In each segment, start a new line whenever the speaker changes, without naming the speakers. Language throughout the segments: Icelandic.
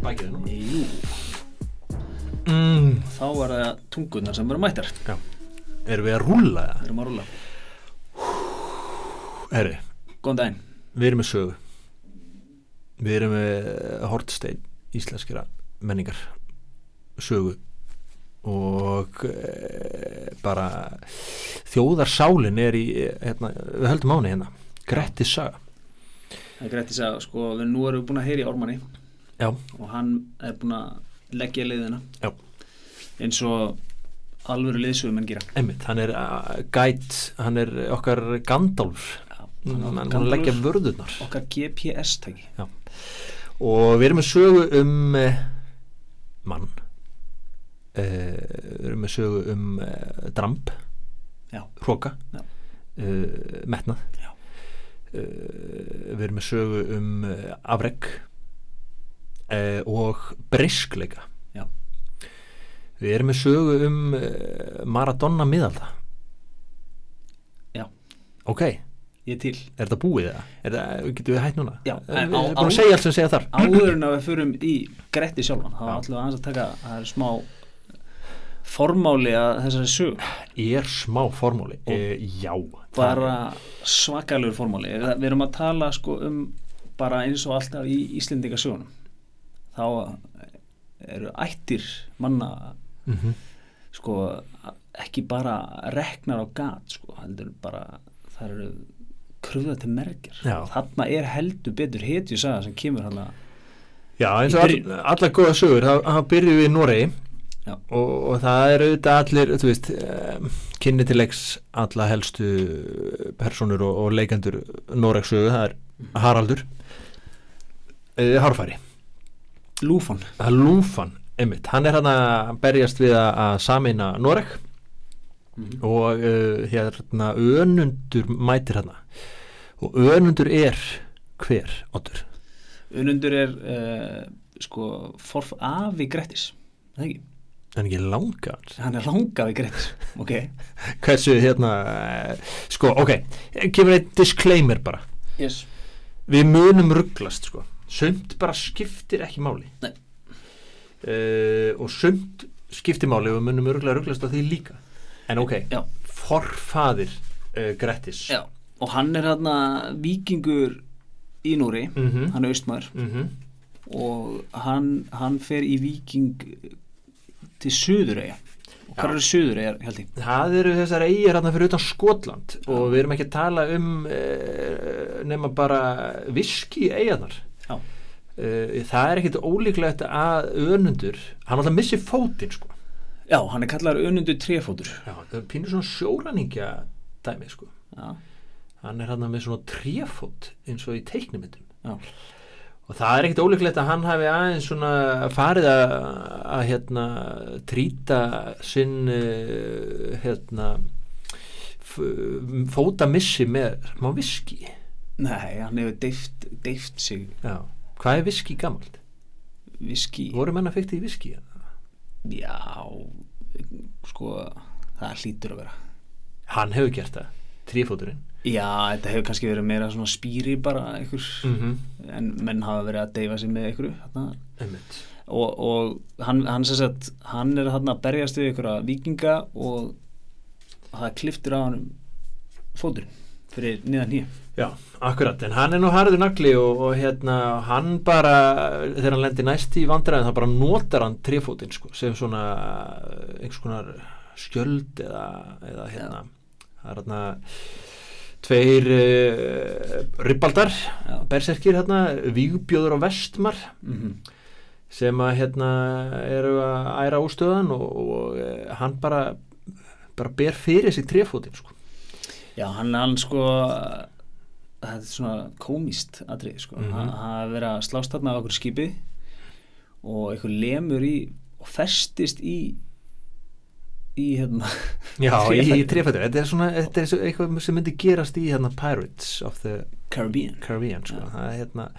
bækið núna
Jú,
mm,
þá er það tungunar sem eru mættar Við
Erum við að rúlla það?
erum að rúla
Herri,
Góðan daginn
við erum með sögu Við erum með hortstein íslenskira menningar sögu og e, bara þjóðarsálin er í eh, hérna, við höldum áni hérna Grettis saga
Það er greitt að segja, sko, við nú erum við búin að heyri Ármanni
Já,
og hann er búin að leggja leiðina
já,
eins og alvöru liðsögum en gera
einmitt hann er uh, gæt, hann er okkar Gandalf hann, hann, hann
Gandalf,
leggja vörðurnar
okkar GPS-tæki
og við erum með sögu um eh, mann eh, við erum með sögu um eh, dramb
Já.
hróka
Já.
eh, metnað
Já.
eh, við erum með sögu um eh, afreg eh, og briskleika
Já.
við erum með sögu um eh, Maradona miðalda
Já.
ok, er
Ég er til
þetta búið það? Er það, getum við hætt núna?
Já,
Eh, við
en
erum
á-
búin
á-
að segja allt sem segja þar
Áður en að við förum í Gretti sjálfan þá
Já.
ætlum við aðeins að taka það er smá formáli að þessari sög
er smá formúli e, já það-
bara svakalegur formáli við við erum að tala sko um bara eins og alltaf í Íslendingasögunum þá eru ættir manna
Mhm.
sko ekki bara reknar á gat sko, heldur bara það eru kröða til merkjar
Já.
þarna er heldur betur hetju saga sem kemur hann að
já eins
Í
og
byrjun.
all, allar góða sögur það, það byrjuð við í Noregi
Já.
og, og það eru auðvitað allir þú veist um, kynni til leiks alla helstu personur og, og leikendur Noregs sögu það er
Mhm.
Haraldur e, Harfari
lúfan
það er Lúfan einmitt, hann er hann að berjast við að, að sameina Noreg og uh, hérna önundur mætir hann og önundur er hver, Otur?
unundur er uh, sko forf afi Grettis er það ekki,
en ekki langar
hann er langafi Grettis ok,
hversu hérna eh, sko, ok, kemur einn disclaimer bara,
yes
við munum rugglast sko, sumt bara skiptir ekki máli
Nei.
Eh, og sumt skiptir máli og við munum örgulega rugglast á því líka en ok,
Já.
forfaðir uh, Grettis
Já, og hann er hann að vikingur í Núri
Mhm.
hann er austmaður
Mhm.
og hann, hann fer í viking til Suðureyja og hvað
Já.
eru Suðureyjar held ég
Það eru þessar eigir hérna fyrir utan Skotland og við erum ekki að tala um eh, nema bara viski eigarnar
Já.
Eh, það er ekkit ólíklegt að önundur, hann alltaf missi fótinn sko,
Já, hann er kallar unundu trefótur
já, það er pínur svona sjóræningja dæmi sko
Já,
hann er hann með svona tréfót eins og í teiknumyndum
já,
og það er ekkit ólíklegt að hann hafi aðeins svona farið að, að hérna trýta sinn eh, hérna f- fótamissi með smá viski
nei, hann hefur deyft, deyft sig
já, hvað er viski gamalt?
viski
voru menna fyrkt í viski?
Já, sko það hlýtur að vera
hann hefur gert það, tréfóturinn
Já, þetta hefur kannski verið meira svona spýri bara einhver,
mhm,
en menn hafa verið að deyfa sig með einhverju þarna.
einmitt
og, og hann, hann sem sagt hann er hann að berjast við einhverja vikinga og það kliftur á hann fóturinn fyrir niðan hér
Já, akkurat, en hann er nú harður nagli og, og hérna, hann bara þegar hann lendir næst í vandræðin þá bara notar hann trefótinn sko, sem svona eh, einhvers konar skjöld eða, eða hérna það er hérna tveir uh, ribbaldar
Já.
berserkir hérna, vígbjóður og vestmar
mm
sem að hérna eru að æra ústöðan og, og eh, hann bara bara ber fyrir sig trefótinn sko.
Já, hann, hann sko það er svona komist atrið sko, mm
Mhm.
-hmm. hann er verið að slást þarna á okkur skipi og einhver lemur í og festist í í hérna
Já, í, í
tréfætinum.
trefættur, þetta er svona þetta er svo- eitthvað sem myndi gerast í hérna Pirates of the
Caribbean
Caribbean sko.
Já.
það er hérna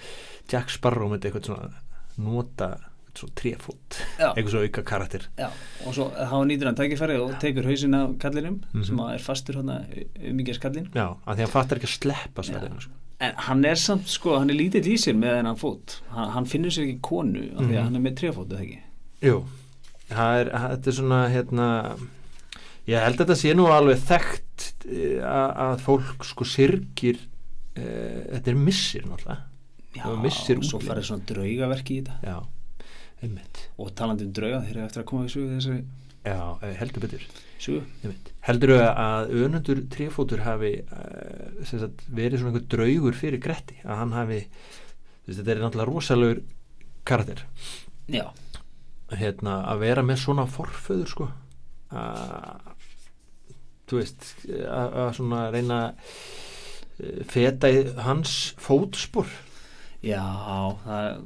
Jack Sparrow myndi eitthvað svona nota svo trefót,
Já.
eitthvað svo auka karakter
Já, og svo þá nýtur hann tækifæri og tekur hausinn af kallinum
Mhm.
sem að er fastur hann umingjarskallin
Já, af því að hann fattar ekki að sleppa sverðinu sko.
um en hann er samt sko, hann er lítill í sér með hennan fót hann, hann finnur sér ekki konu af því
Mhm.
að hann er með trefót eða ekki
Jú, það er, þetta er svona hérna, ég held að þetta sé nú alveg þekkt eh, að, að fólk sko sirgir e, þetta er missir náttúrulega Og missir
svo
útlitið.
farið svona draugaverki í þetta
já, einmitt
og talandi um drauga þeir eru eftir að koma í sögu þessari
já, eh, heldur betur
sögu
einmitt. heldur þau að önundur trefótur hafi e, sagt, verið svona einhver draugur fyrir Gretti að hann hafi, þú veist, þetta er náttúrulega rosalegur karakter
já,
hérna, að vera með svona forföður sko að þú veist að, að svona reyna að feta í hans fótspor
já það,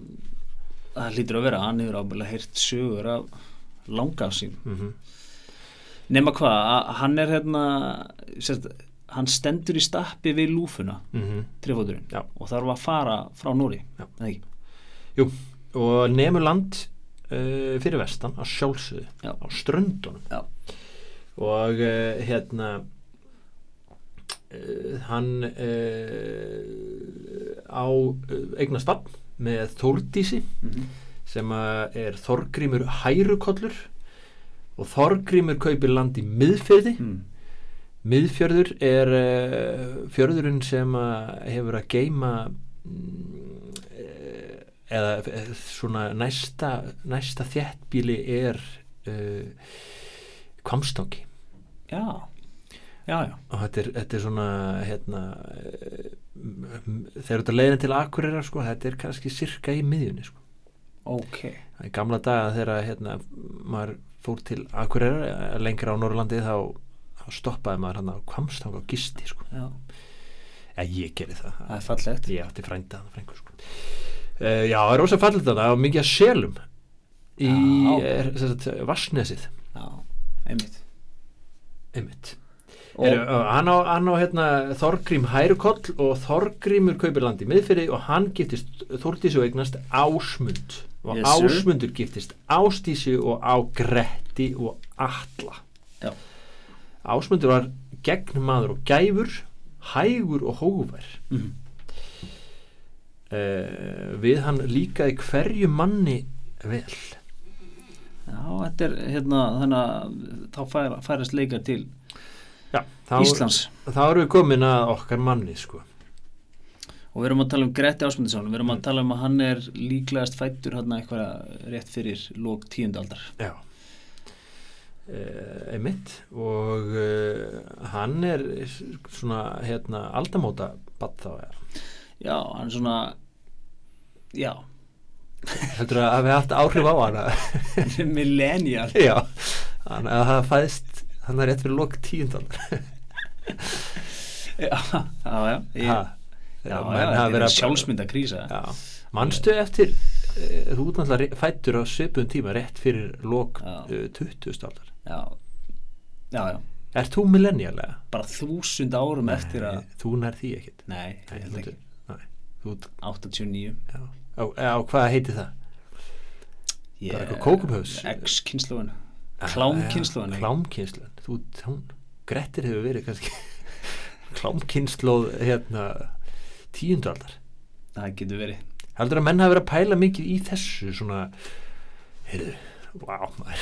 það hlýtur að vera hann hefur ábúinlega heyrt sögur af langað sín
mm -hmm.
nema hvað, að hann er hérna sérst, hann stendur í stappi við lúfuna trefóturinn
Já.
og þarf að fara frá Núri
Já.
eða ekki
Jú, og nemur land uh, fyrir vestan á sjálfsöðu
Já.
á ströndunum
Já.
og uh, hérna uh, hann uh, á uh, eignast bann með Þórdísi
Mhm.
sem að er Þorgrímur Hærukollur og Þorgrímur kaupir land í miðfyrði
mm.
miðfjörður er uh, fjörðurinn sem að hefur að geima mm, eh, eða eh, svona næsta, næsta þjættbíli er uh, kvamstangi
já, já, já
og þetta er, þetta er svona hérna eh, m- m- þegar þetta leiðin til Akureyra sko, þetta er kannski sirka í miðjunni sko.
ok,
í gamla daga þegar hérna, maður fór til Akureyra eh, lengra á Norrlandi þá, þá stoppaði maður hann á kvamstang og gisti sko.
já,
ja, ég gerði það,
það er fallegt
ég átti frænda hann frængur sko. uh, já, það er rosa fallið þetta það var mikið að selum í
Já.
er, sem sagt, Vassnesið
já, einmitt
einmitt
og,
Heru, hann, á, hann á hérna Þorgrím Hærukoll og Þorgrímur kaupir landi miðfyrir og hann giftist Þórdísi og eignast Ásmund og
Yes, sir.
Ásmundur giftist Ástísi og á Gretti og Alla
Já.
Ásmundur var gegnmaður og gæfur hægur og hófær
Mhm.
Eh, við hann líkaði hverju manni vel
já, þetta er hérna þannig að þá fær, færast leikar til
Já, þá,
Íslands
þá erum við komin að okkar manni sko.
og við erum að tala um Gretti Ásmundsson við erum að tala um að hann er líklegast fættur hérna eitthvað rétt fyrir lók tíundaldar
Já uh, einmitt og uh, hann er s- svona hérna aldamóta badd þá ja.
já, hann er svona já,
heldur að hafi haft áhrif á hana
millennial
já, hann að það fæðist hann er rétt fyrir lok tíundan
já, já, já, ég,
ha,
já,
þegar menn hafa
já, þetta er
verið að-
sjálfsmyndakrísa
já, manstu eftir uh, þú ert náttúrulega ré- fæddur á svipum tíma rétt fyrir lok
Já.
uh, 20. aldar
já, já, já
ert þú millennialega?
bara þúsund árum eftir að
þú nær því ekkit
nei, ég held ekki,
Nei, þú, ert-
89
já, á, á hvað heiti það?
Ég-
Bara eitthvað kókubhaus.
X-kynsluðin Klámkynslóðin,
Já,
ekki?
Ah, Klámkynslóðin, þú, hún, Grettir hefur verið kannski Klámkynslóð hérna tíundaldar
það getur verið
Heldur að menn hafa verið að pæla mikið í þessu svona, heyrðu, vá maður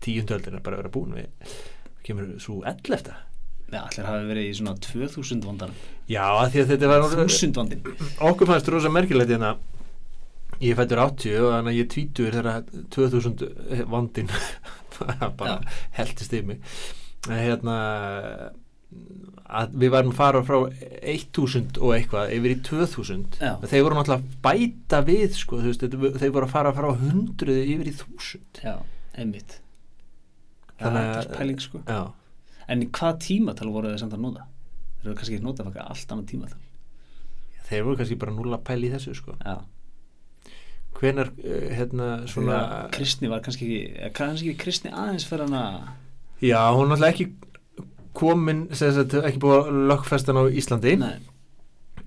tíundaldin er bara að vera búin við kemur svo ell eftir
Já, allir hafi verið í svona 2000 vandar
Já, af því að þetta var orðið-
1000 vandin
okkur fannst rosa merkilegt hérna ég fættur 80 og þannig að ég tvítur þegar 2000 vandin eh, bara
Já.
heldist í mig En hérna að við varum að fara frá 1000 og eitthvað yfir í 2000
Já.
þeir voru náttúrulega að bæta við sko, þú veist, þetta- þeir voru að fara frá 100 yfir í 1000
Já, einmitt Já,
Þannig
Þetta
að-
er pæling sko
já,
En hvað tímatal voru þið samt að nota? Þeir eru kannski ekki nota fyrir allt annað tímatal
þeir voru kannski bara núla að pæla í þessu sko.
Já,
hvenar eh, hérna svona
svona Kristni var kannski ekki eða kannski ekki Kristni aðeins fyrir hann að
Já, hún er náttúrulega ekki komin, sem sagt, ekki búið að lögfesta hann á Íslandi
Nei,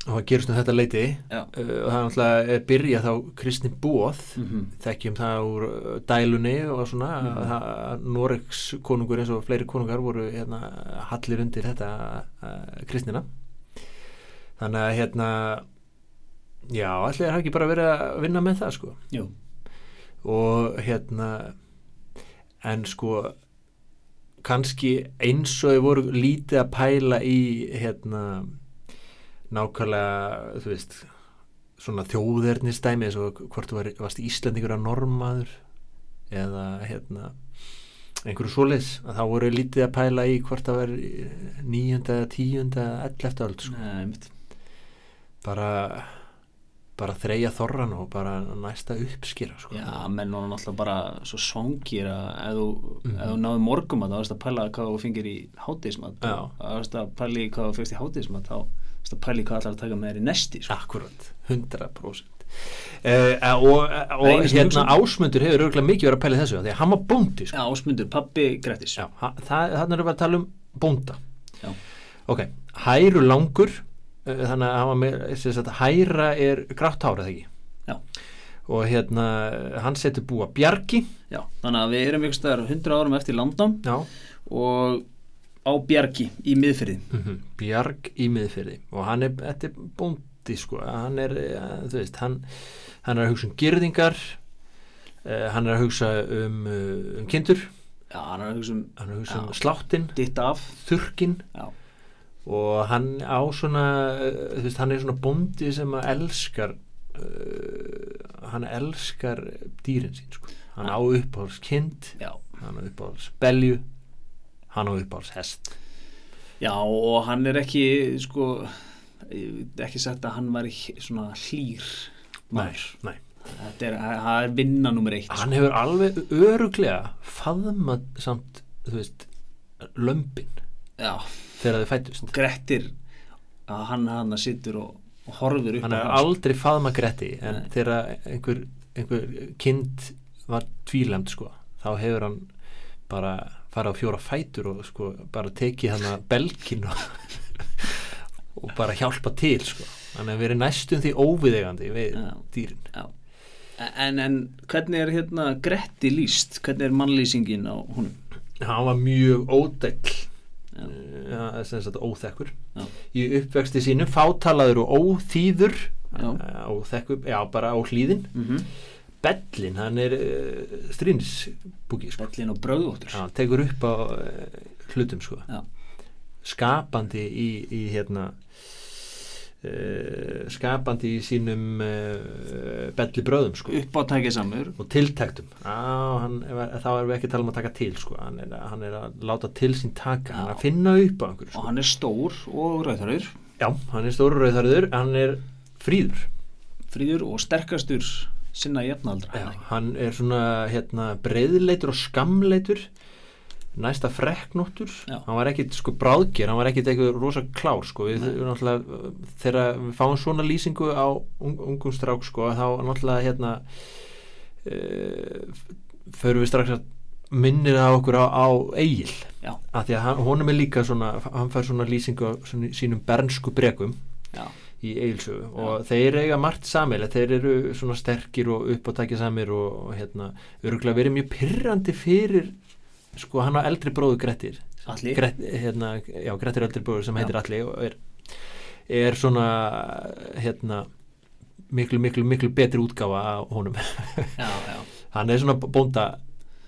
og það gerist um þetta leiti
já
uh, og það er náttúrulega er byrja þá kristni bóð
Mhm.
þekkjum það úr uh, dælunni og svona
Mhm.
mm. að Noregs konungur eins og fleiri konungar voru hérna, hallir undir þetta uh, kristnina eh, þannig að hérna já, allir hafa ekki bara verið að vinna með það sko
Jú,
og hérna en sko kannski eins og þau voru lítið að pæla í hérna nákvæmlega þú veist svona þjóðernistæmi eins og hvort þú var, varst Íslandingur að normaður eða hérna einhverju svoleiðs að þá voru þau lítið að pæla í hvort það var nýjunda, tíunda, ellefta öld sko.
Nei, einmitt.
bara bara þreja þorran og bara næsta uppskýra sko.
Já, menn voru náttúrulega bara svo svangir að ef þú,
Mhm.
ef þú náðu morgum að þá varst að pæla hvað þú fengir í hátíðismat
Já.
og að varst að pæla í hvað þú fengst í hátíðismat þá varst að pæla í hvað allar að taka með þér í nesti sko.
Akkurat, 100% Uh, og
Það er
og
einu sem
hérna
hugsa.
ásmundur hefur örgulega mikið verið að pæla í þessu af því að hann var bóndi sko.
Já, ásmundur, pappi, grættis
Já, ha- það- þarna erum við að tala um bónda
Já.
ok, hæru langur uh, þannig að hann var með sem sagt, hæra er grátt hárið ekki
Já.
og hérna uh, hann setur búa bjargi
Já, þannig að við erum ykkur staðar 100 árum eftir landnám
Já.
og á bjargi í miðfyrði
Mhm, Bjarg í miðfyrði og hann er, þetta er bóndi sko hann er, eh, þú veist, hann, hann er að hugsa um girðingar uh, hann er að hugsa um, eh, um kindur,
Já, hann er að hugsa um
hann er að hugsa um
Já.
sláttin
ditt af
þurkin
Já,
og hann á svona eh, þú veist, hann er svona bóndi sem að elskar uh, hann elskar dýrin sín sko hann á uppáhalds kind
já
hann á uppáhalds belju hann á uppáhalds hest
Já, og hann er ekki sko, ekki sagt að hann var svona hlýr maður.
nei
Þetta er, það er vinna nummer eitt sko.
hann hefur alveg öruglega faðmað samt þú veist, lömbin
Já,
þegar þau fættust
Grettir að hann hann sittur og, og horfir upp
hann
á
hefur
sko.
aldrei faðmað gretti en
Nei.
þegar einhver, einhver kind var tvílemd sko, þá hefur hann bara farið á fjóra fætur og sko, bara tekið hann að belgin og, og bara hjálpa til sko. hann hefur verið næstum því óviðegandi við
sko. Já.
dýrin
en, en hvernig er hérna Gretti líst? Hvernig er mannlýsingin á honum?
hann var mjög ódekl
Já.
ja, sem sagt óþekkur
Já.
í uppvexti sínum fátalaður og óþýður
Já.
Eh, óþekkur, já bara á hlýðin
Mm -hmm.
Bellin, hann er uh, strínsbúki sko.
Bellin og bröðvóttur
hann tekur upp á uh, hlutum sko.
Já.
skapandi í, í hérna uh, skapandi í sínum uh, belli bröðum sko.
Uppátækið samur
og tiltæktum á, hann, er- þá erum við ekki að tala um að taka til sko. hann, er, að- hann er að láta til sín taka hann er að finna upp á einhverju
og
sko.
hann er stór og rauðarur
já, hann er stóru rauðarður hann er fríður
fríður og sterkastur sinna jafnaldra
já, hann er svona hérna, breyðleitur og skamleitur næsta frekknóttur
Já.
hann var ekkit sko bráðger hann var ekkit eitthvað rosa klár sko. við, við náttúrulega, uh, þegar við fáum svona lýsingu á ung, ungum strák sko, þá náttúrulega hérna uh, förum við strax að minnir það okkur á, á Egil
Já.
að því að hann, honum er líka svona hann fær svona lýsingu á svona, sínum bernsku bregum
Já.
í Egilsögu og þeir eiga margt samil þeir eru svona sterkir og uppátækja samir og, og hérna, örgulega verið mjög pyrrandi fyrir sko hann á eldri bróðu Grettir
Atli
Gret, hérna, já, Grettir eldri bróður sem
Já.
heitir Alli og er, er svona hérna miklu, miklu, miklu betri útgáfa af honum
já, já.
hann er svona bónda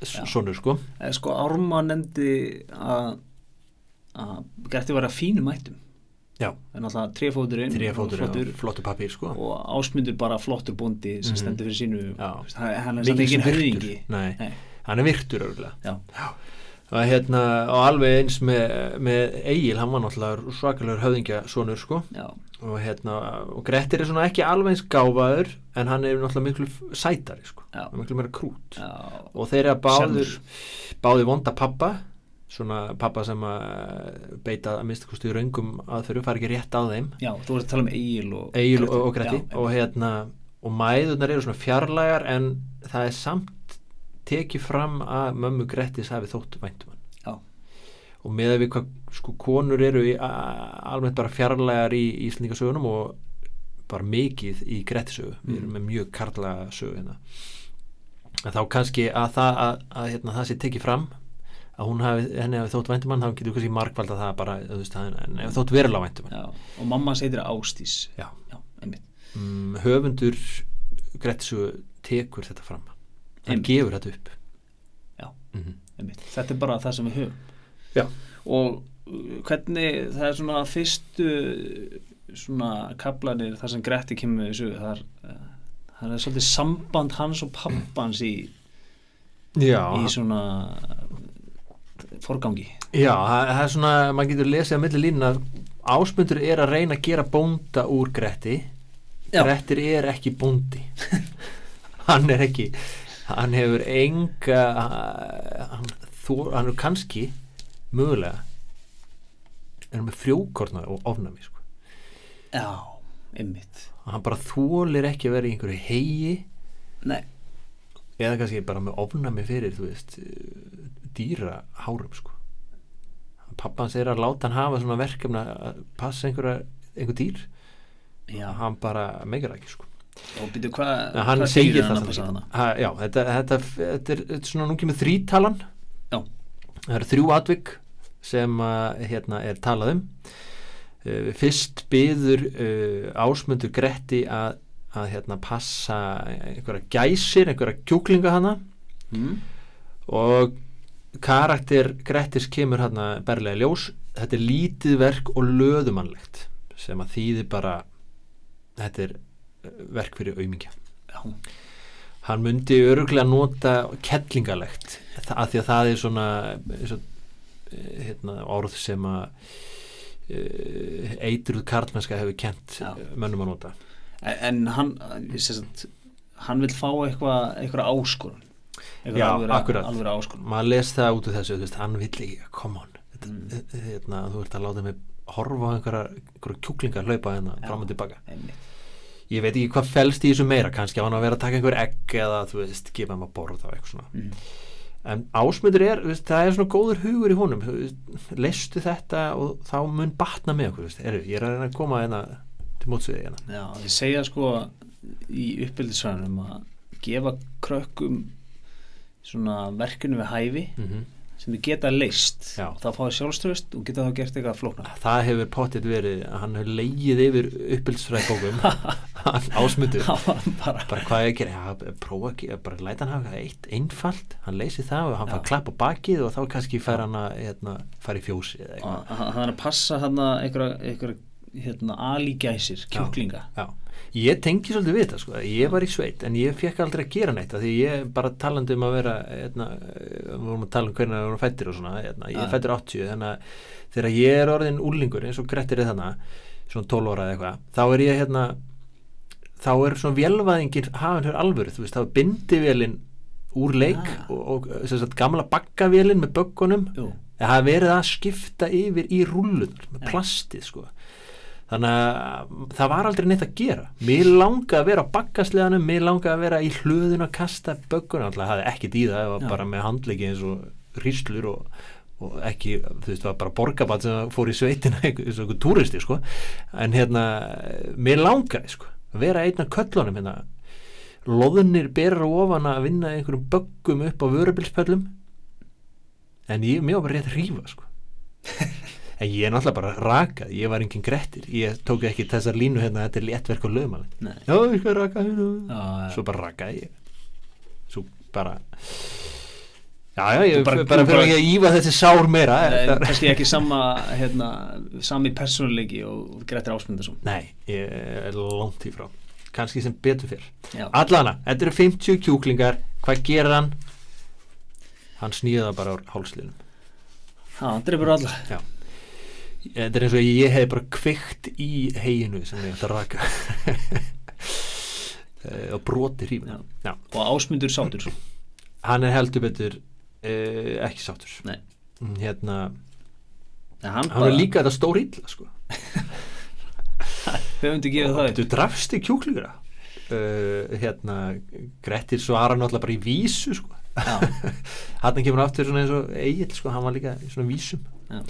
Já.
sonur sko
Eh, Sko Árma nefndi að að Gerti var að fínum mættum
já,
en alltaf trefóturinn
tríafótur,
flottur,
flottu pappír sko
og ásmundur bara flottur bóndi sem
Mhm.
stendur fyrir sínu
Já.
Veist, hann hann er
Mikils
samt engin
virtur.
höfðingi
Nei.
Nei.
hann er virtur örgulega
Já.
og hérna og alveg eins með, með Egil, hann var náttúrulega svakalegur höfðingja sonur sko
Já.
og hérna, og Grettir er svona ekki alveg eins gáfaður en hann er náttúrulega miklu f- sætari sko,
Já.
Hann er miklu meira krút
Já.
og þeir eru að báður báði vonda pappa svona pappa sem að beita að minnsta kosti raungum aðferðu, fara ekki rétt á þeim
já, þú voru að tala um Egil og
Egil og, og Gretti
Já,
og hérna og mæðunar eru svona fjarlægar en það er samt tekið fram að mömmu Grettis hafi þótt væntum hann
já,
og með að við hvað sko konur eru í, a, a- almennt bara fjarlægar í Íslandingasögunum og bara mikið í Grettisögu við erum með mjög karlaga sögu hérna en þá kannski að það að, að hérna, það sé tekið fram að hún hafi, henni hafi þótt væntumann þá getur kannski markvalda það bara þú veist, að henni hafi þótt verulega væntumann
já, og mamma seitir Ástís
Já.
já, einmitt
mm, höfundur Gretsu tekur þetta fram hann
Einmitt.
gefur þetta upp
Já.
Mhm.
Einmitt. Þetta er bara það sem við höfum
Já.
og uh, hvernig það er svona fyrstu uh, svona kaplanir þar sem Gretti kemur þessu þar, uh, þar er svolítið samband hans og pappans í, í
já,
svona
eh,
uh, forgangi
já það, það er svona maður getur lesið að milli línuna að áspundur er að reyna að gera bónda úr Gretti
Já.
Grettir er ekki bóndi hann er ekki hann hefur enga hann, þor, hann er kannski mögulega er með frjókorna og ofnami sko.
Já, einmitt
hann bara þólir ekki að vera í einhverju heigi
Nei,
eða kannski bara með ofnami fyrir þú veist eh, dýra hárum sko pappa hans er að láta hann hafa svona verkefna að passa einhverja, einhver dýr
já,
hann bara meikar það ekki sko
og byrju hvað
en hann
hvað
segir
dýr er
það
að
samt
passa
ekki.
þarna?
Ha, já, þetta, þetta, þetta, er, þetta er svona nú kemur þrítalan
Já.
það eru þrjú atvik sem að, hérna er talað um uh, fyrst byður uh, ásmundur Gretti að, að hérna passa einhverja gæsir, einhverja kjúklinga hana Hmm?
Mm?
og karakter Grettis kemur hérna berlega í ljós þetta er lítið verk og löðumannlegt sem að þýði bara þetta er eh, verk fyrir aumingja
Já,
hann myndi öruglega nota kettlingalegt þa- af því að það er svona, eh, svona hérna, orð sem að eh, eitruð karlmennska hefur kent
Já.
mönnum að nota
en, en hann eh, sem sagt, hann vil fá eitthvað eitthvað áskorun eitthvað
Já,
alvöru-
akkurat.
alvöru áskorun
maður les það út úr þessu þú veist, hann vill ekki, come on þetta,
Mm.
hérna, þú ert að láta mig horfa á einhverja, einhverja kjúklingar hlaupa hérna
Já.
fram og tilbaka,
einmitt
ég veit ekki hvað felst í þessu meira, kannski á hann að vera að taka einhver egg eða þú veist, gefa hann að borða og eitthvað svona
mm.
en ásmundur er, þú veist, það er svona góður hugur í honum, þú veist, leistu þetta og þá mun batna með okkur þú veist, eru, ég er að reyna að koma hérna til mótsviði hérna,
Já, ég segja sko í uppbyldisvæðanum að gefa krökkum svona verkinu við hæfi
mm
sem þau geta leist
Já.
þá fáið sjálfströðst og geta þá gert eitthvað flóknar
það hefur pottet verið að hann hefur leigið yfir uppbyldsfræð bókum ásmundur
Það var bara
bara hvað ég að gera, já, prófa ekki bara læta hann hafa eitthvað eitt einfalt hann leysi það og hann fær
Já.
klapp á bakið og þá kannski fær hann að hérna, fara í fjósi eða eitthvað
að- að- hann er að passa hann einhverja einhverja hérna alígæsir, kjúklinga
Já. ég tengi svolítið við þetta sko. ég var í sveit en ég fekk aldrei að gera neitt af því ég bara talandi um að vera hérna, eh, við vorum að tala um hvernig við vorum fættir og svona, hérna, ég
Já.
er fættir 80 þannig að þegar ég er orðin úlingur eins og grettir er þannig svona 12 óra eða eitthvað þá er ég hérna þá er svona vélvæðingin hafinn hér alvöru þú veist, þá er bindivélin úr leik
Ah.
og, og sem sagt, gamla bakkavélin með böggunum
Jú,
en það er verið að skipta yfir í rullunar með
Já.
plastið sko þannig að það var aldrei neitt að gera mér langaði að vera á bakkasleðanum mér langaði að vera í hlöðun að kasta bögguna, alltaf hafði ekkit í það það var
Já.
bara með handleiki eins og ríslur og, og ekki, þú veist, það var bara borgabat sem fór í sveitina eins og einhver túristi sko, en hérna mér langaði sko, að vera einn af köllunum hérna, loðunir berar ofan að vinna í einhverjum böggum upp á vörubilspöllum en ég, mér var bara rétt að rífa sko. en ég er náttúrulega bara rakað ég var enginn grettir, ég tók ekki þessar línu hérna, þetta er léttverk og lögumæli
nei
já, ég skal raka hérna
Já,
svo
já.
bara rakaði ég svo bara já, já, ég
Þú bara-
bara, bara
þú
fyrir
bara-
ekki að ífa þessi sár meira eh,
En
þetta-
kannski ekki sama hérna, sami persónuleiki og Grettir Ásmundarsson
nei, ég er langt í frá kannski sem betur fyrr
Já,
allana, þetta eru 50 kjúklingar hvað gerir hann? hann snýða bara úr hálslinum
hann dreipur alla
Þetta er eins og ég hef bara kveikt í heginu sem ég ætla að raka Eh, og broti hrífuna Já.
og Ásmundur sátur
Hann er heldur betur uh, ekki sáttur
Nei.
Mm, Hérna,
En hann,
hann er líka þetta stór illa sko.
höfundi gefið það upp.
Þú drafst í kjúklingra uh, Hérna, Grettir svarar náttúrulega bara í vísu sko.
Já,
Hann kemur aftur svona eins og Egil, sko, hann var líka í svona vísum
já.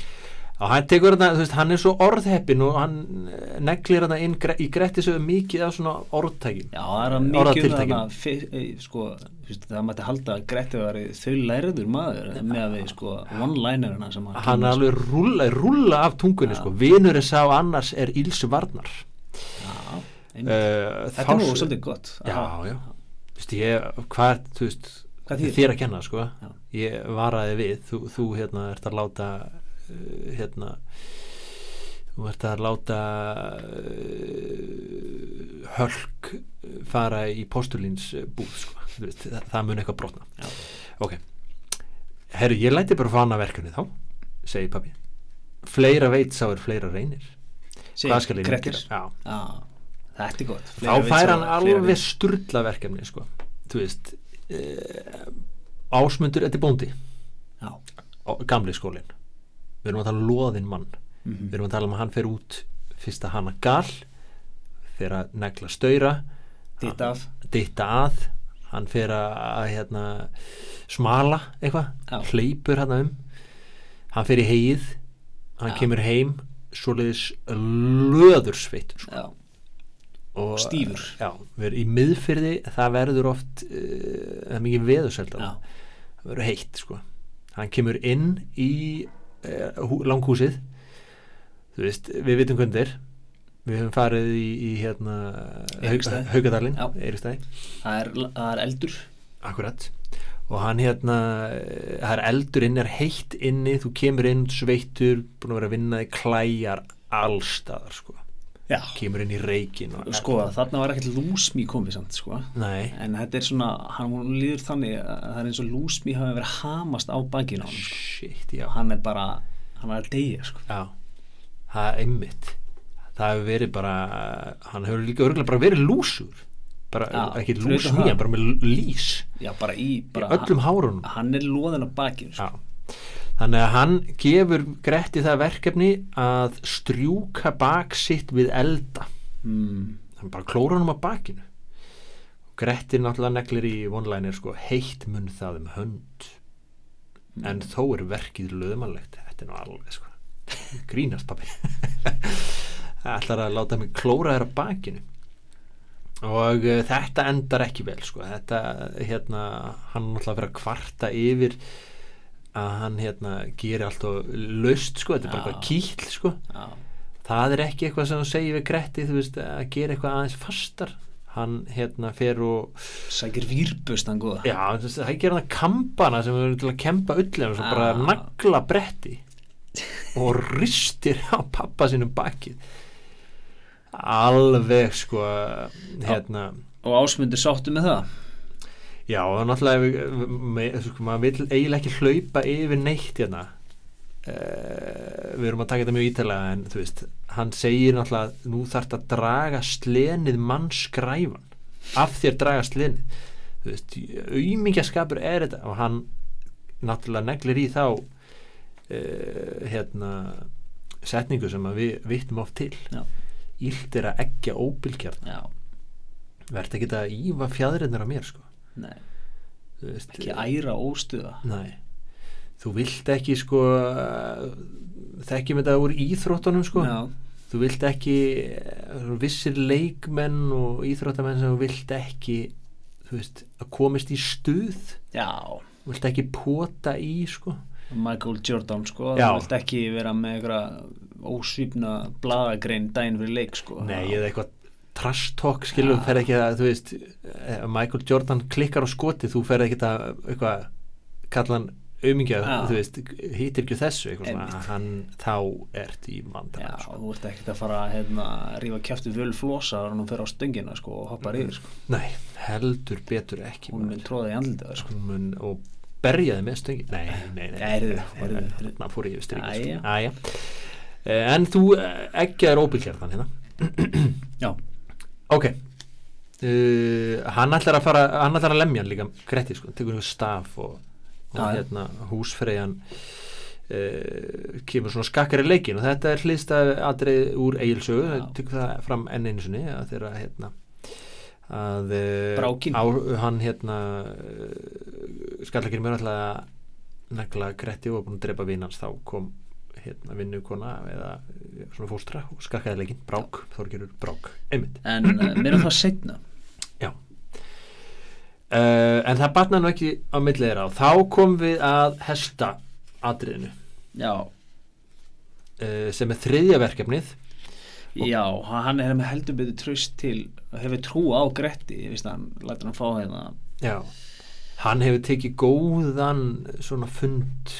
Já, hann tekur þarna, þú veist, hann er svo orðheppin og hann eh, neglir þarna inn gre- í grettisöfu mikið af svona orðtækin.
Já, það er að mikið um
Orðatiltækin.
þarna fi- eh, sko, þú veist, það mætti halda að Gretti var þau lærður maður með að við sko one-linerina sem hann
Hann er
kemur, sko.
alveg rúlla, rúlla af tungunni,
Já.
sko. Vinurinn sá annars er Ílsu Varnar.
sko. Já, einmitt.
Uh,
Þetta er nú svolítið gott
Já,
Aha.
já. Þú veist, ég, hvað, þú veist,
Hvað
er
þýðir?
þér að kenna, sko.
Já.
Ég varaði við, þú, þú hérna, ert að láta, uh, hérna, þú ert að láta uh, hölk uh, fara í postulins búð, sko. Þú veist, það, það mun eitthvað brotna.
Já.
Ok. Herru, ég læti bara að fana verkefni þá, segi pabbi. Fleira veit sá er fleira reynir.
Segir
Hvað skal ég nú
Grettir.
gera? Já.
Já, þetta er gott Fleira
þá
vits
fær
og-
hann
fleira
alveg
vits.
sturla verkefni sko. þú veist uh, ásmundur, þetta er bóndi
Já,
á, gamli skólin við erum að tala um loðinn mann
Mhm.
við erum að tala um að hann fer út fyrst að hana gal fer að negla stöyra
ditt af
ditta að hann fer að, að hérna, smala
Já.
eitthvað hleypur hann um hann fer í heið hann
Já.
kemur heim svoleiðis löðursveitur sko
Já,
og,
Stífur.
já, við erum í miðfyrði það verður oft uh, það er mikið veðurseldan
já,
það verður heitt sko hann kemur inn í uh, hú, langhúsið þú veist, við vitum hvernig þetta er við höfum farið í, í hérna
Eiríksstaði.
Haugadalinn,
Já.
Eiristæði
það er, það er eldur
Akkurat og hann hérna, eh, það er eldur inn er heitt inni, þú kemur inn sveittur, búin að vera að vinna þig klæjar allstaðar sko
Já
kemur inn í reikin og
Sko, þarna var ekkert lúsmi komið samt, sko
nei,
En þetta er svona, hann hún líður þannig að það er eins og lúsmi hafi verið hamast á bakinu á hann sko.
shit, já
Hann er bara, hann er að deyja sko.
Já, það er einmitt Það hefur verið bara hann hefur líka örgulega bara verið lúsur bara,
Já,
ekki
fyrir
lús
utan það.
nýjan, bara með lís
Já, bara í bara,
í öllum hárunum
hann, hann er loðin á bakinu sko.
Já. Þannig að hann gefur Gretti það verkefni að strjúka bak sitt við elda
mm,
hann bara klóra hann á bakinu Gretti náttúrulega neglir í vonlænir sko, heitt mun það um hönd en þó er verkið löðmannlegt, þetta er nú alveg sko grínast pappi ætlar að láta mig klóra þér á bakinu og uh, þetta endar ekki vel sko, þetta hérna hann er náttúrulega að vera að kvarta yfir að hann hérna gerir alltaf laust sko, þetta er bara
Já.
eitthvað kýll sko
Já,
það er ekki eitthvað sem þú segir við Gretti þú veist, að gera eitthvað aðeins fastar hann hérna fer og
sækir výrbust hann góða
já, þú veist, það gerir hann kampana sem við erum til að kempa öllum sem bara
Ah.
nagla bretti og ristir á pappa sínum bakið alveg sko hérna
Og ásmundur sáttu með það
já, og náttúrulega við- með- sko, maður vil eiginlega ekki hlaupa yfir neitt hérna Uh, við erum að taka þetta mjög ítalega en þú veist, hann segir náttúrulega nú þarf að draga slenið mannskræfan af þér draga slenið þú veist, auðmingjaskapur er þetta og hann náttúrulega neglir í þá uh, hérna setningu sem að við vittum oft til
Já.
ílt er að eggja óbylgjarn
Já,
verð ekki að ífa fjadrinnar á mér sko
nei,
Þú veist,
ekki æra óstuða
Nei, þú vilt ekki sko þekkjum þetta úr íþróttunum sko
Já,
þú vilt ekki þú vissir leikmenn og íþróttamenn sem þú vilt ekki þú veist, að komist í stuð
já
þú vilt ekki pota í sko
Michael Jordan sko
Já.
þú vilt ekki vera með eitthvað ósvífna bladagrein dæn fyrir leik sko
Nei, eða eitthvað trash talk skilur, þú ferð ekki að, þú veist ef Michael Jordan klikkar á skoti þú ferð ekki að, eitthvað kalla hann auðmingja,
Já.
þú veist hýtir ekki þessu, eitthvað svona,
Einmitt.
hann þá ert í sko.
Já,
vandana
þú ert ekkert að fara hérna, að rífa kjæftu völ flosa og hún fer á stöngina sko og hoppar yfir sko
Nei, heldur betur Mm, ekki
hún
maður.
mun tróða í andlitið á þér, sko
Hún mun og berjaði með stöngi Nei, nei, nei
Heyrðu, heyrðu, heyrðu.
Þarna fór ég yfir strikið
Jæja.
sko. Jæja. Eh, En þú ekki er óbyggjörðan hérna
Já,
Ok uh, Hann ætlar að fara Hann ætlar að lemja hann líka Gretti sko Tekur einhver staf og, og
Já, já.
hérna húsfreyjan Uh, kemur svona skakkar í leikin og þetta er hlýst að atrið úr eigilsögu
Já.
það tekur það fram enn einu sinni að þeirra hérna að eh,
Brákin.
á, hann hérna uh, skallakir mjög alltaf að negla Gretti og var búin að drepa vinn hans þá kom hérna, vinnukona eða eh, svona fóstra og skakkaði leikinn, brák, Þorgerur brák einmitt.
en uh, mér er það setna
Já. Uh, en það batna nú ekki á milli þeirra og þá kom við að hesta atriðinu
já,
uh, sem er þriðja verkefnið
já, hann er með heldur betur tröst til hefur trú á Gretti ég veist að hann lætur hann fá hérna
Já. hann hefur tekið góðan eh, svona fund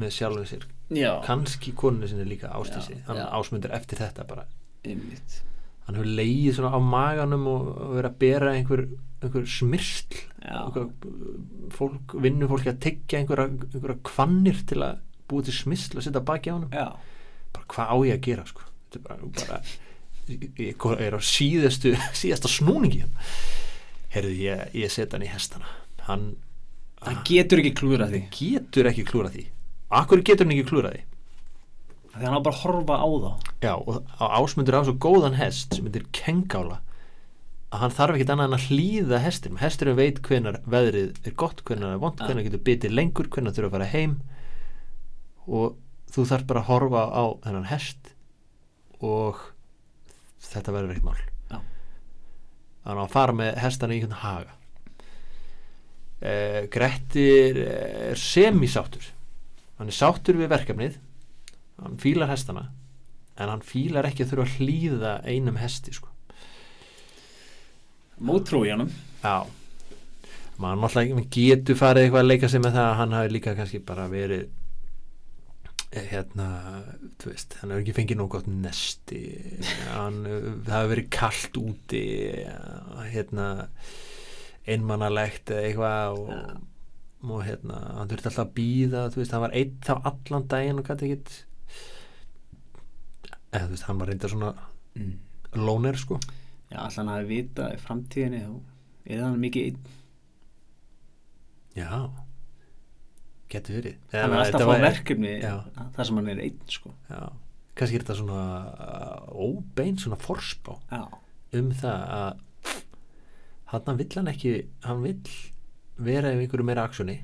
með sjálfum sér
já,
kannski konunni sinni líka ástísi
Já,
hann
já.
ásmundur eftir þetta bara
einmitt
hann hefur leið svona á maganum og, og verið að bera einhver, einhver smyrsl
Já.
Einhver fólk, vinnu fólki að tekja einhverja, einhverja kvannir til að búið til smyrsl og setja baki á hann
já,
bara hvað á ég að gera sko þetta er bara, bara ég- ég er á síðastu síðasta snúningi herðu ég, ég set hann í hestana hann
það getur ekki klúra því
getur ekki klúra því akkur getur hann ekki klúra því
því hann á bara að horfa á þá
Já, og á- Ásmundur á svo góðan hest sem heitir Kengála að hann þarf ekkit annað en að hlýða hestinum hesturinn veit hvenar veðrið er gott hvenar er vond,
Já.
hvenar getur bitið lengur hvenar þurfa að fara heim og þú þarf bara að horfa á þennan hest og þetta verður eitt mál
Já.
þannig að hann fara með hestana í einhvern haga eh, Grettir eh, er semisáttur hann er sáttur við verkefnið hann fílar hestana en hann fílar ekki að þurfa að hlýða einum hesti sko.
mótrú í honum
já maður náttúrulega ekki- getur farið eitthvað að leika sig með það að hann hafi líka kannski bara verið eh, hérna þú veist, hann hefur ekki fengið nóg gott nesti hann, eh, það hefur verið kallt úti eh, hérna einmannalegt eða eitthvað og, og hérna, hann þurfti alltaf að býða þú veist, hann var einn þá allan daginn og gæti ekkit eða þú veist, hann var reynda svona
mm.
loner sko
já, alltaf hann hafi vita í framtíðinni þá er hann mikið einn
Já Getur verið
hann er
Eða
alltaf
þetta
að fá
væri-
verkefni
Já.
þar sem hann er einn sko
Já Kannski er þetta svona uh, óbein svona forspá
já,
um það að hann vill hann ekki hann vill vera ef einhverju meira aksjóni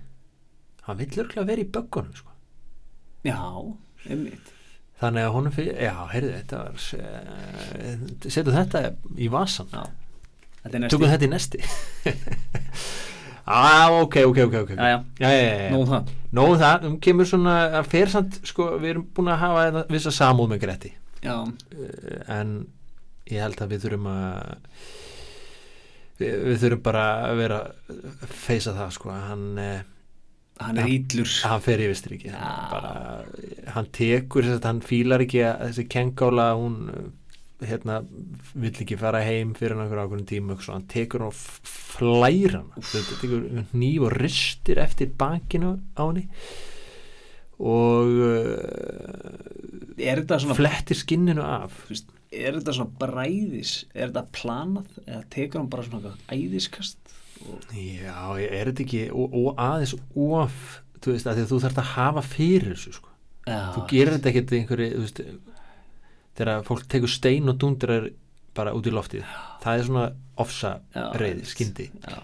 hann vill örgulega vera í böggunum sko.
já, einmitt
þannig að honum fyrir já, heyrðu, þetta var se- setjum þetta í vasan
já. þetta er næst
tökum þetta í nesti ah, ok, ok, ok, ok
Já, já.
já, já, já, já.
nóg um það
Nóðu það, um kemur svona að fer samt, sko, við erum búin að hafa þetta vissa samúð með Gretti
já,
Eh, en ég held að við þurfum að við, við þurfum bara að vera eh, að feysa það, sko að hann, eh,
hann er
Já.
ítlur
að hann fer yfir strikið
Já.
Hann bara, hann tekur þess að hann fílar ekki að þessi kengála hún eh, hérna, vill ekki fara heim fyrir hann okkur ákveðin tíma og hann tekur hann og f- flæra hann þetta tekur nýf og ristir eftir bakinu á henni og uh,
er þetta svona
flettir skinninu af
þú veist, er þetta svona bræðis er þetta planað eða tekur hann bara svona eitthvað æðiskast og,
já, er þetta ekki og, og aðeins of þú veist, að þú þarft að hafa fyrir þessu sko.
já,
þú gerir þetta ekkert í einhverju þú veist, þegar fólk tekur stein og dundrar bara út í loftið það er svona ofsa
Já,
reyði,
einmitt.
skyndi
já,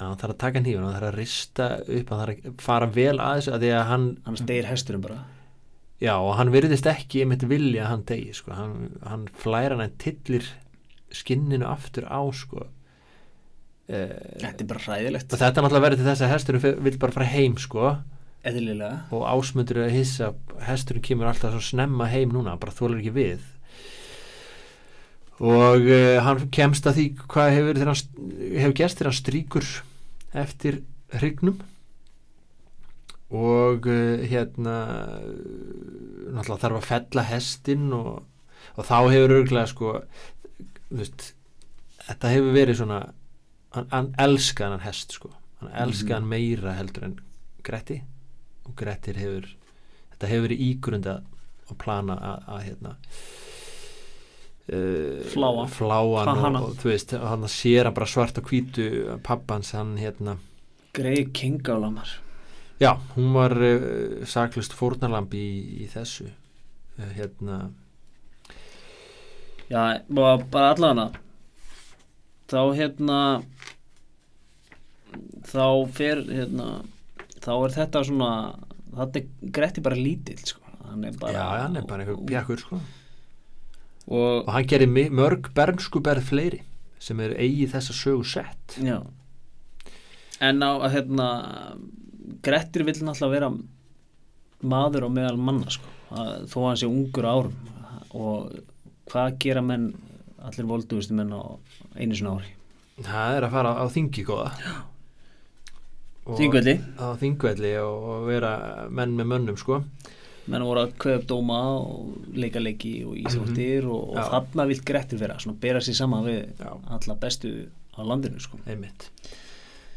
að hann þarf að taka hnífun, hann þarf að rista upp hann þarf að fara vel að þessu að því að hann,
hann stegir hesturum bara
já, og hann virðist ekki einmitt vilja að hann degi sko. hann, hann flæra hann en tillir skinninu aftur á sko. eh,
þetta er bara ræðilegt
og þetta er náttúrulega verið til þess að hesturinn vil bara fara heim sko
eðlilega
og ásmundur er að hissa hesturinn kemur alltaf svo snemma heim núna bara þólar ekki við og uh, hann kemst að því hvað hefur, þegar hann, st- hefur gest þegar hann strýkur eftir hrygnum og uh, hérna eh, náttúrulega þarf að fella hestinn og, og þá hefur örgulega sko þú veist, þetta hefur verið svona hann, hann elskaði hann hest sko hann elskaði
Mhm.
hann meira heldur en Gretti og Grettir hefur þetta hefur verið ígrunda að plana að, að hérna uh,
Fláa.
fláan
Hvað
og,
hana?
og þú veist hann sér hann bara svart og hvítu pappans hann hérna
greið kingálamar
já, hún var uh, saklust fórnalamb í, í þessu uh, hérna
já, og bara allan að þá hérna þá fer hérna þá er þetta svona þetta er Gretti bara lítill sko. hann er bara,
já, hann er bara einhver pjakkur sko.
og,
og hann gerir mi- mörg bernskuberð fleiri sem er eigi þessa sögu sett
já en á að hérna Grettir vill náttúrulega vera maður og meðal manna sko. að, þó að hann sé ungur á árum og hvað gera menn allir voldugustu menn á einu svona ári
það er að fara á þingi góða Og-
Þingvelli.
á þingvelli og, og vera menn með mönnum sko
menn voru að köp dóma og leika leiki og íþróttir og,
Mhm. Já.
og þarna vill Grettir vera svona bera sér saman við
Já.
alla bestu á landinu sko.
einmitt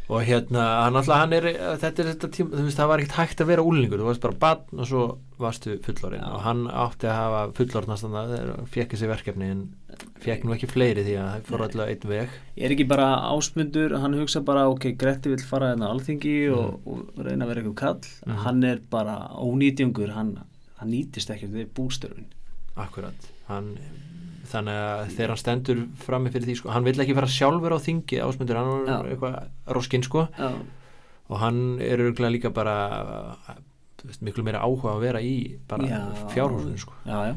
og hérna, hann alltaf, hann er þetta er þetta tíma, þú veist, það var ekkert hægt að vera úlingur þú varst bara barn og svo varstu fullorinn
Já.
og hann átti að hafa fullorðnast þannig að þeir fekk þessi verkefni en fekk nú ekki fleiri því að það fór alltaf einn veg
er ekki bara ásmundur hann hugsa bara ok, Gretti vill fara hérna á alþingi og, og reyna að vera eitthvað kall
Mhm.
hann er bara ónýtjungur hann, hann nýtist ekkert við bústörfin
akkurat, hann þannig að þegar hann stendur frammi fyrir því sko, hann vill ekki fara sjálfur á þingi ásmundur, hann var
Já.
eitthvað roskinn sko
já,
og hann er örgulega líka bara þú veist, miklu meira áhuga að vera í bara
Já.
fjárhúsinu sko
já, já.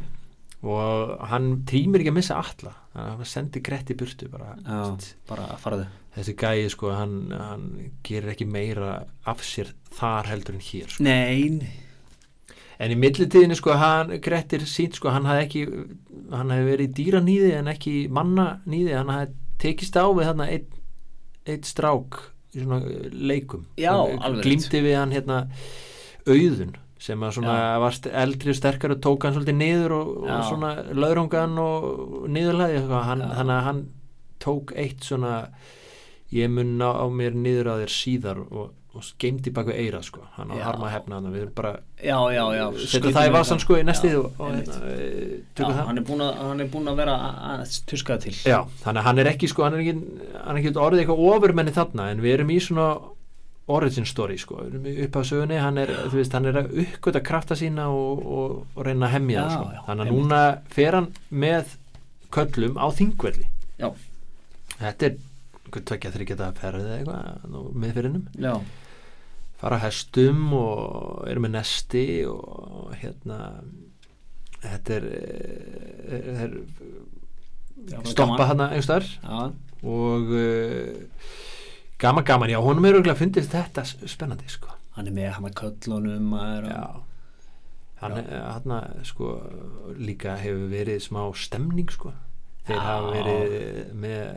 og hann tímir ekki að missa alla þannig að hann sendi grett í burtu bara, þú
já
veist,
bara farðu
þessi gæi sko hann, hann gerir ekki meira af sér þar heldur en hér sko.
nein,
en í millitíðinu sko hann, Grettir sínt sko hann hafði ekki hann hefði verið í dýranýði en ekki mannanýði hann hafði tekist á við þarna eitt, eitt strák í svona uh, leikum
Já,
Hann, uh,
alveg rétt.
glímdi við hann hérna auðun sem að svona
Já.
var st- eldri og sterkar og tók hann svolítið niður og, og
Já.
svona laurungan og niðurlæði sko. hann,
Já.
þannig að hann tók eitt svona ég mun ná á mér niður að þér síðar og, og geimdi bak við eira sko. hann á
Já.
harma hefna hann við erum bara
já, já, já
setja það í vasan sko í næstið og, og
einmitt.
hérna, eh,
já,
tökum það
hann er búinn að- hann er búin að vera að- að tuska til
já, þannig að hann er ekki sko hann er ekki, hann er ekki orðið eitthvað ofurmenni þarna en við erum í svona origin story sko, við erum upp á sögunni hann er, þú veist, hann er að uppgöta krafta sína og, og, og reyna að hemmja
Já,
það
já,
sko. þannig að
einmitt.
núna fer hann með köllum á þingvelli
já,
þetta er einhver tvekja þryggja daga ferðið eða eitthvað nú miðfyrinum
já,
fara á hestum og eru með nesti og hérna þetta er, er, er
já bara
stoppa
gaman.
hana einhverstaðar
já,
og uh, gaman gaman, já, honum er auðvitað fundist þetta s- spennandi, sko
hann er með hann að köllunum maður, og-
já hann, hann sko líka hefur verið smá stemning, sko þeir
Já.
hafa verið með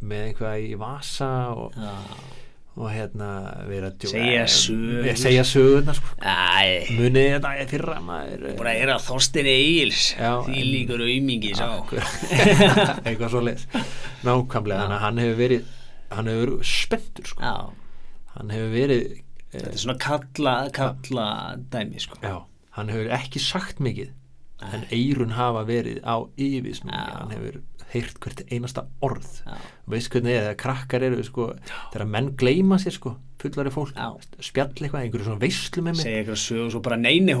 með einhvað í vasa og,
já
og hérna verið að djó-
Segja sögur.
Eh, segja sögurnar, sko
Æ,
munið þetta í fyrra maður eh,
búin að heyra Þorstin Egils
Já,
því
en-
líkur aumingi sá
eitthvað svo leis nákvæmlega, þannig að hann hefur verið hann hefur verið spenntur sko.
Já,
hann hefur verið
þetta
eh,
er svona kalla, kalla dæmi sko
já, hann hefur ekki sagt mikið en eirun hafa verið á yfis mikið,
Já.
hann hefur heyrt hvert einasta orð
Já,
veist hvernig er, þegar krakkar eru sko, þegar menn gleyma sér sko, fullari fólk
Já.
spjall eitthvað, einhverju svona veislu með mig
segja ykkur sögur svo bara neini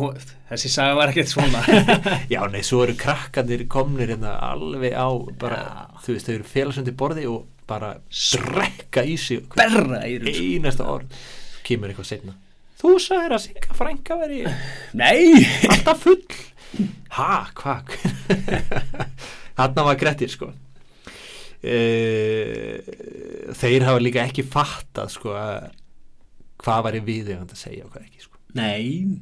þessi saga var ekkert svona
já, nei, svo eru krakkarnir komnir hérna alveg á bara,
Já.
þú veist, þau eru félagsundi borði og bara drekka í sig hvert
Berra í rúm
einasta orð Svo kemur eitthvað setna þú sagðir að Sigga frænka veri
Nei
alltaf full ha, hvað hann var grettir sko Eh, þeir hafa líka ekki fattað sko að hvað var í viðegand að segja og hvað ekki sko
Nei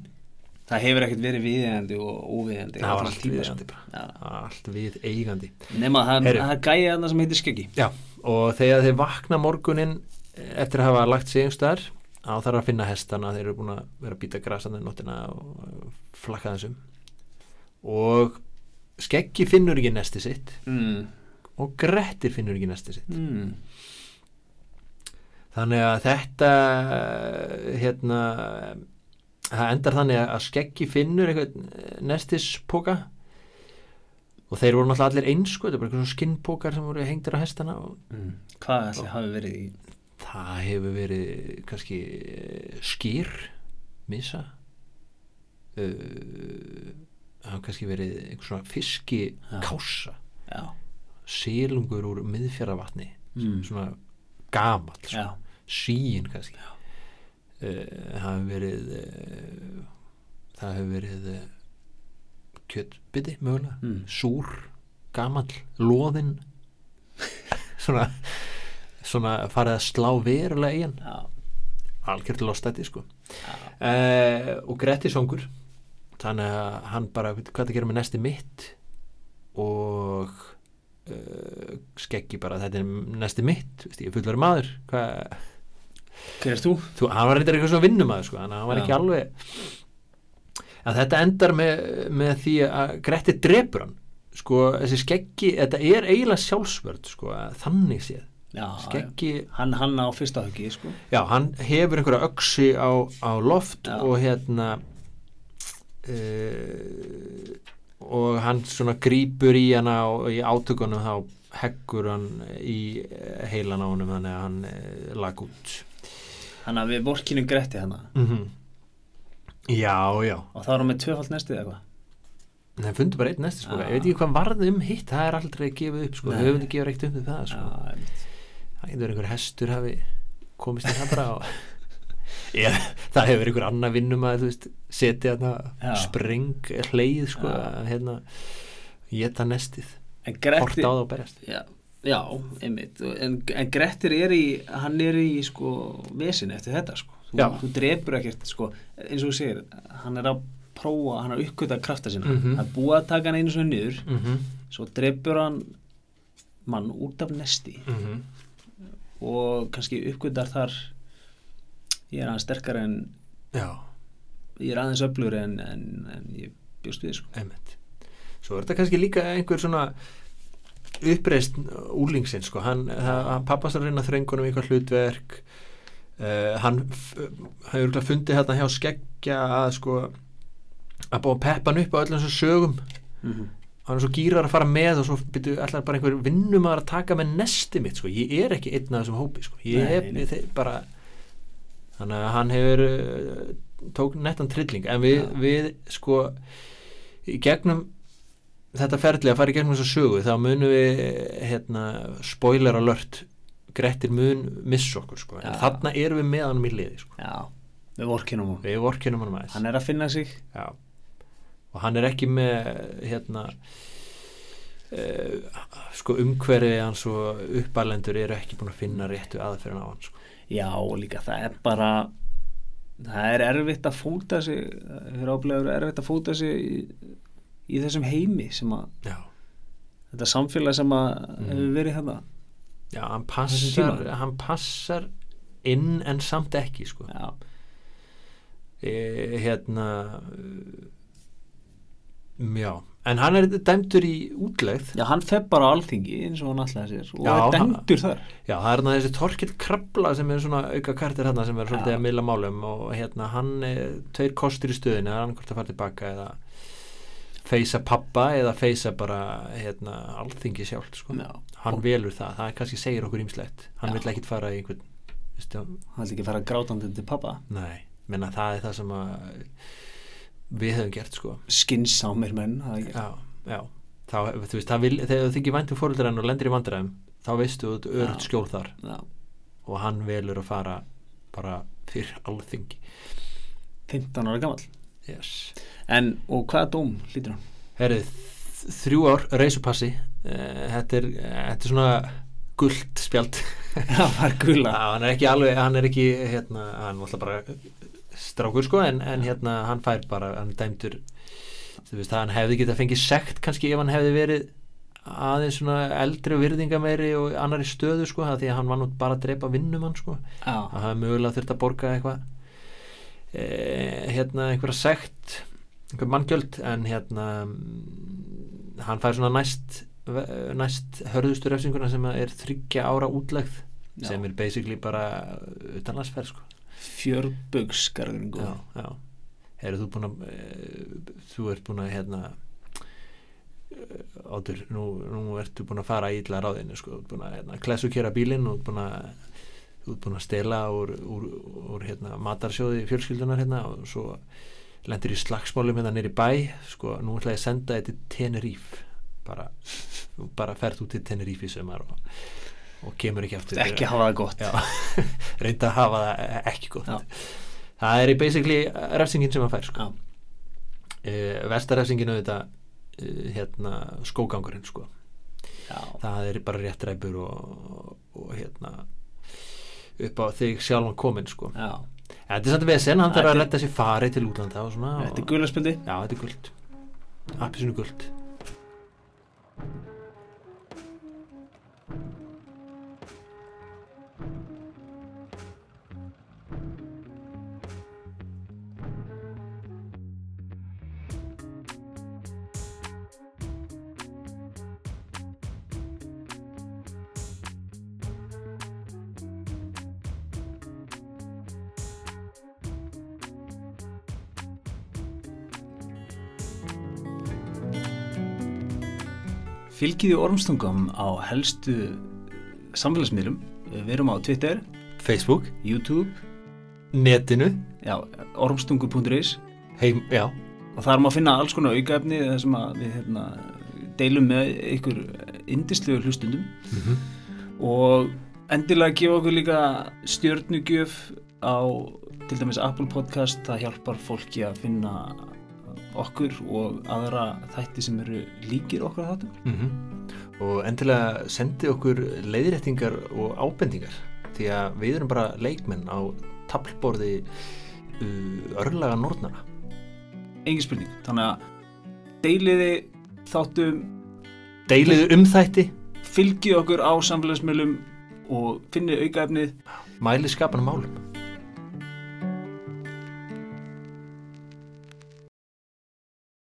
Það hefur ekkert verið viðeigandi og óviðeigandi
það var
allan
allt
tímann,
viðegandi
sko.
bara Það var allt við eigandi
Já. Nema að það
Heyrðu.
það er gæja þarna sem heitir Skeggi
Já, og þegar þeir vakna morgunin eftir að hafa lagt sig einhverstaðar þá þarf að finna hestana, þeir eru búin að vera að býta grasandi nóttina og eh, flakka þessum og Skeggi finnur ekki nesti sitt
mm.
og Grettir finnur ekki nesti sitt
Mm.
þannig að þetta hérna það endar þannig að Skeggi finnur eitthvað nestispoka og þeir voru náttúrulega allir eins sko, þetta er bara eitthvað skinnpokar sem voru hengdir á hestana og
Mm. Hvað ætli hafi verið í
Það hefur verið kannski eh, skýr missa uh, Eh, það hefur kannski verið einhver svona fiski
Já.
kása
Já,
silungur úr miðfjaravatni
Mm.
svona gamall
já,
sko. Eh, síin kannski uh, það hefur verið uh, það hefur verið eh, kjötbiti mögulega
Mm.
súr, gamall, loðinn svona svona farið að slá verulega í hann
já,
algjört lostæti sko
já,
eh, og Gretti songur þannig að hann bara "Veitu hvað það gerum við næsti mitt og eh, skeggi bara þetta er næsti mitt veist, ég er fullur maður hvað,
hver er þú?
þú, hann var reyndar eitthvað svona vinnumaður sko, þannig að hann var
Já.
ekki alveg að þetta endar með, með því að Gretti drepur hann sko, þessi skeggi, þetta er eiginlega sjálfsvörd sko, að þannig séð
Já,
skeggi,
já. hann, hann á fyrsta höggi sko.
já, hann hefur einhverja öksi á, á loft
Já.
og hérna uh, og hann svona grípur í hana og í átökunum þá heggur hann í eh, heilan á honum þannig að hann uh, lag út
hann að við vorkinum Gretti hann og
mm Já, já
þá er hann með tvöfald næstið eða eitthvað
Nei, fundu bara einn næsti sko,
Já.
ég veit ekki hvað varði um hitt það er aldrei gefið upp sko,
Ah. Nei.
höfundi gefur eitt um það sko,
Já, einmitt.
það getur einhver hestur hafi komist í það bara og Já, það hefur einhver annar vinnum að þú veist, setja
Já.
þarna spring hleið sko,
Já.
að hérna geta nestið,
en
horta á
Gretti
það og berjast
já, já, einmitt en, en Grettir er í, hann er í sko vesin eftir þetta sko þú,
Já.
þú drepur ekkert sko eins og þú segir, hann er að prófa hann er að uppgöta krafta sinna,
Mhm.
það er búið að taka hann einu svona niður,
mm -hmm.
svo drepur hann mann út af nesti
Mm -hmm.
og kannski uppgötar þar ég er aðeins sterkar en
Já,
ég er aðeins öflur en, en, en ég bjóst við sko.
einmitt Svo er þetta kannski líka einhver svona uppreist úlingsinn sko, hann, það- hann pappast að reyna þröngunum í eitthvað hlutverk uh, hann f- hann hefur örugglega fundið hérna hjá skeggja að sko að búa peppan upp á öllum þessum sögum
mm
hann er svo gýrar að fara með og svo byrju allar bara einhver vinnum að taka með nesti mitt sko. ég er ekki einn af þessum hópi sko. ég
Nei,
er
nei.
þeir- bara þannig að hann hefur uh, tók nettan trilling en við,
Já.
við sko í gegnum þetta ferli að fara í gegnum þessa sögu þá munum við hérna, spoiler alert Grettir mun missa okkur sko. en
Já.
þarna erum við með hann í liði sko.
já, við vorkinum hún
við vorkinum hann aðeins
hann er að finna sig
Já. og hann er ekki með hérna uh, sko umhverfi hans og uppalendur eru ekki búin að finna réttu aðferðin á hann sko.
já, og líka það er bara það er erfitt að fóta sig það er áblegur erfitt að fóta sig í, í þessum heimi sem að
já.
þetta samfélag sem að
Mhm.
hefur verið hérna
já, hann
Þessum
passar
tíma?
hann passar inn en samt ekki sko.
já,
e, hérna eh, já, en hann er dæmdur í útlegð
já hann fef bara á alþingi eins og hann alltaf sér og
Já,
er
hann-
dengdur þar
Já, það er hann þessi Torkil Krabla sem er svona auka kartir hann sem er svolítið
Já.
að milla málum og hérna hann er tveir kostur í stöðinu, það er hann hvort að fara tilbaka eða feysa pappa eða feysa bara hérna alþingi sjálft sko.
já,
Hann
og
velur það, það kannski segir okkur ímslegt, hann
Já.
vil ekkit fara í einhvern, veistu,
hann ætla ekki að fara grátandi til pappa
nei, menna það er það sem að við höfum gert sko.
skinsámir menn það er ekki-
Já, já, þá, þú veist, það vil, þegar þú þykir væntum fóröldræðan og lendir í vandræðum, þá veistu þú
Já.
örugt skjól þar.
já,
og hann velur að fara bara fyrir alþingi
15 ára gamall
yes.
En, og hvaða dóm hlýtur hann?
Herið, þrjú ár reisupassi uh, þetta, er, þetta er svona gult spjald
Það var
Já,
gula
hann er ekki alveg hann er ekki, hérna, hann var alltaf bara strákur sko, en, en hérna hann fær bara, hann er dæmdur þú veist, hann hefði getað fengið sekt kannski ef hann hefði verið aðeins svona eldri og virðingameiri og annari stöðu sko, það því að hann var nú bara að drepa vinnumann sko
Já,
að það er mögulega þurft að borga eitthvað e, hérna einhverja sekt einhver manngjöld en hérna mm, hann fær svona næst ve- næst hörðustu refsinguna sem er þryggja ára útlegð
Já.
sem er basically bara utanlandsferð sko.
fjörbugsgarðurinn góð
já, já. Heru, þú, búin að, e, þú ert búin að hérna Ótur, nú, nú ertu búin að fara í illa ráðinu sko, þú ert búin að hérna, klessukera bílinn og þú ert búin að þú ert búin að stela úr, úr, úr hérna, matarsjóði fjölskyldunar hérna og svo lendir í slagsmálum hérna nýri bæ, sko, nú ætla ég að senda þetta til Tenerife bara, þú bara ferð út til Tenerife í sömar og, og kemur ekki aftur
Ekki hafa það gott
Já, reynda að hafa það e- ekki gott
Já.
það er í basically uh, refsingin sem hann fær sko.
Já.
uh, vestarefsingin auðvitað uh, hérna skógangurinn sko
já,
það er bara rétt ræpur og, og hérna upp á þig sjálfan kominn sko
já.
Ja, þetta er samt vesen, hann þarf
Þetta
að
er-
redda sér fari til útlanda og svona
Þetta er
og-
gulaspildi
Já, þetta er guld Appisinu guld
Fylgiði ormstungum á helstu samfélagsmiðlum Við erum á Twitter,
Facebook,
YouTube,
netinu
já, ormstungur.is
heim, Já,
og þar má finna alls konar aukaefni þar sem að við hérna, deilum með ykkur indislegu hlustundum og endilega gefa okkur líka stjörnugjöf á til dæmis Apple Podcast það hjálpar fólki að finna okkur og aðra þætti sem eru líkir okkar þáttum
Mhm. Og endilega sendi okkur leiðréttingar og ábendingar því að við erum bara leikmenn á tablborði uh, örlaga nornana
engin spurning, þannig að deiliði þáttum
Deiliðu um þætti,
fylgið okkur á samfélagsmiðlum og finnið aukaefnið
mæli skapan málum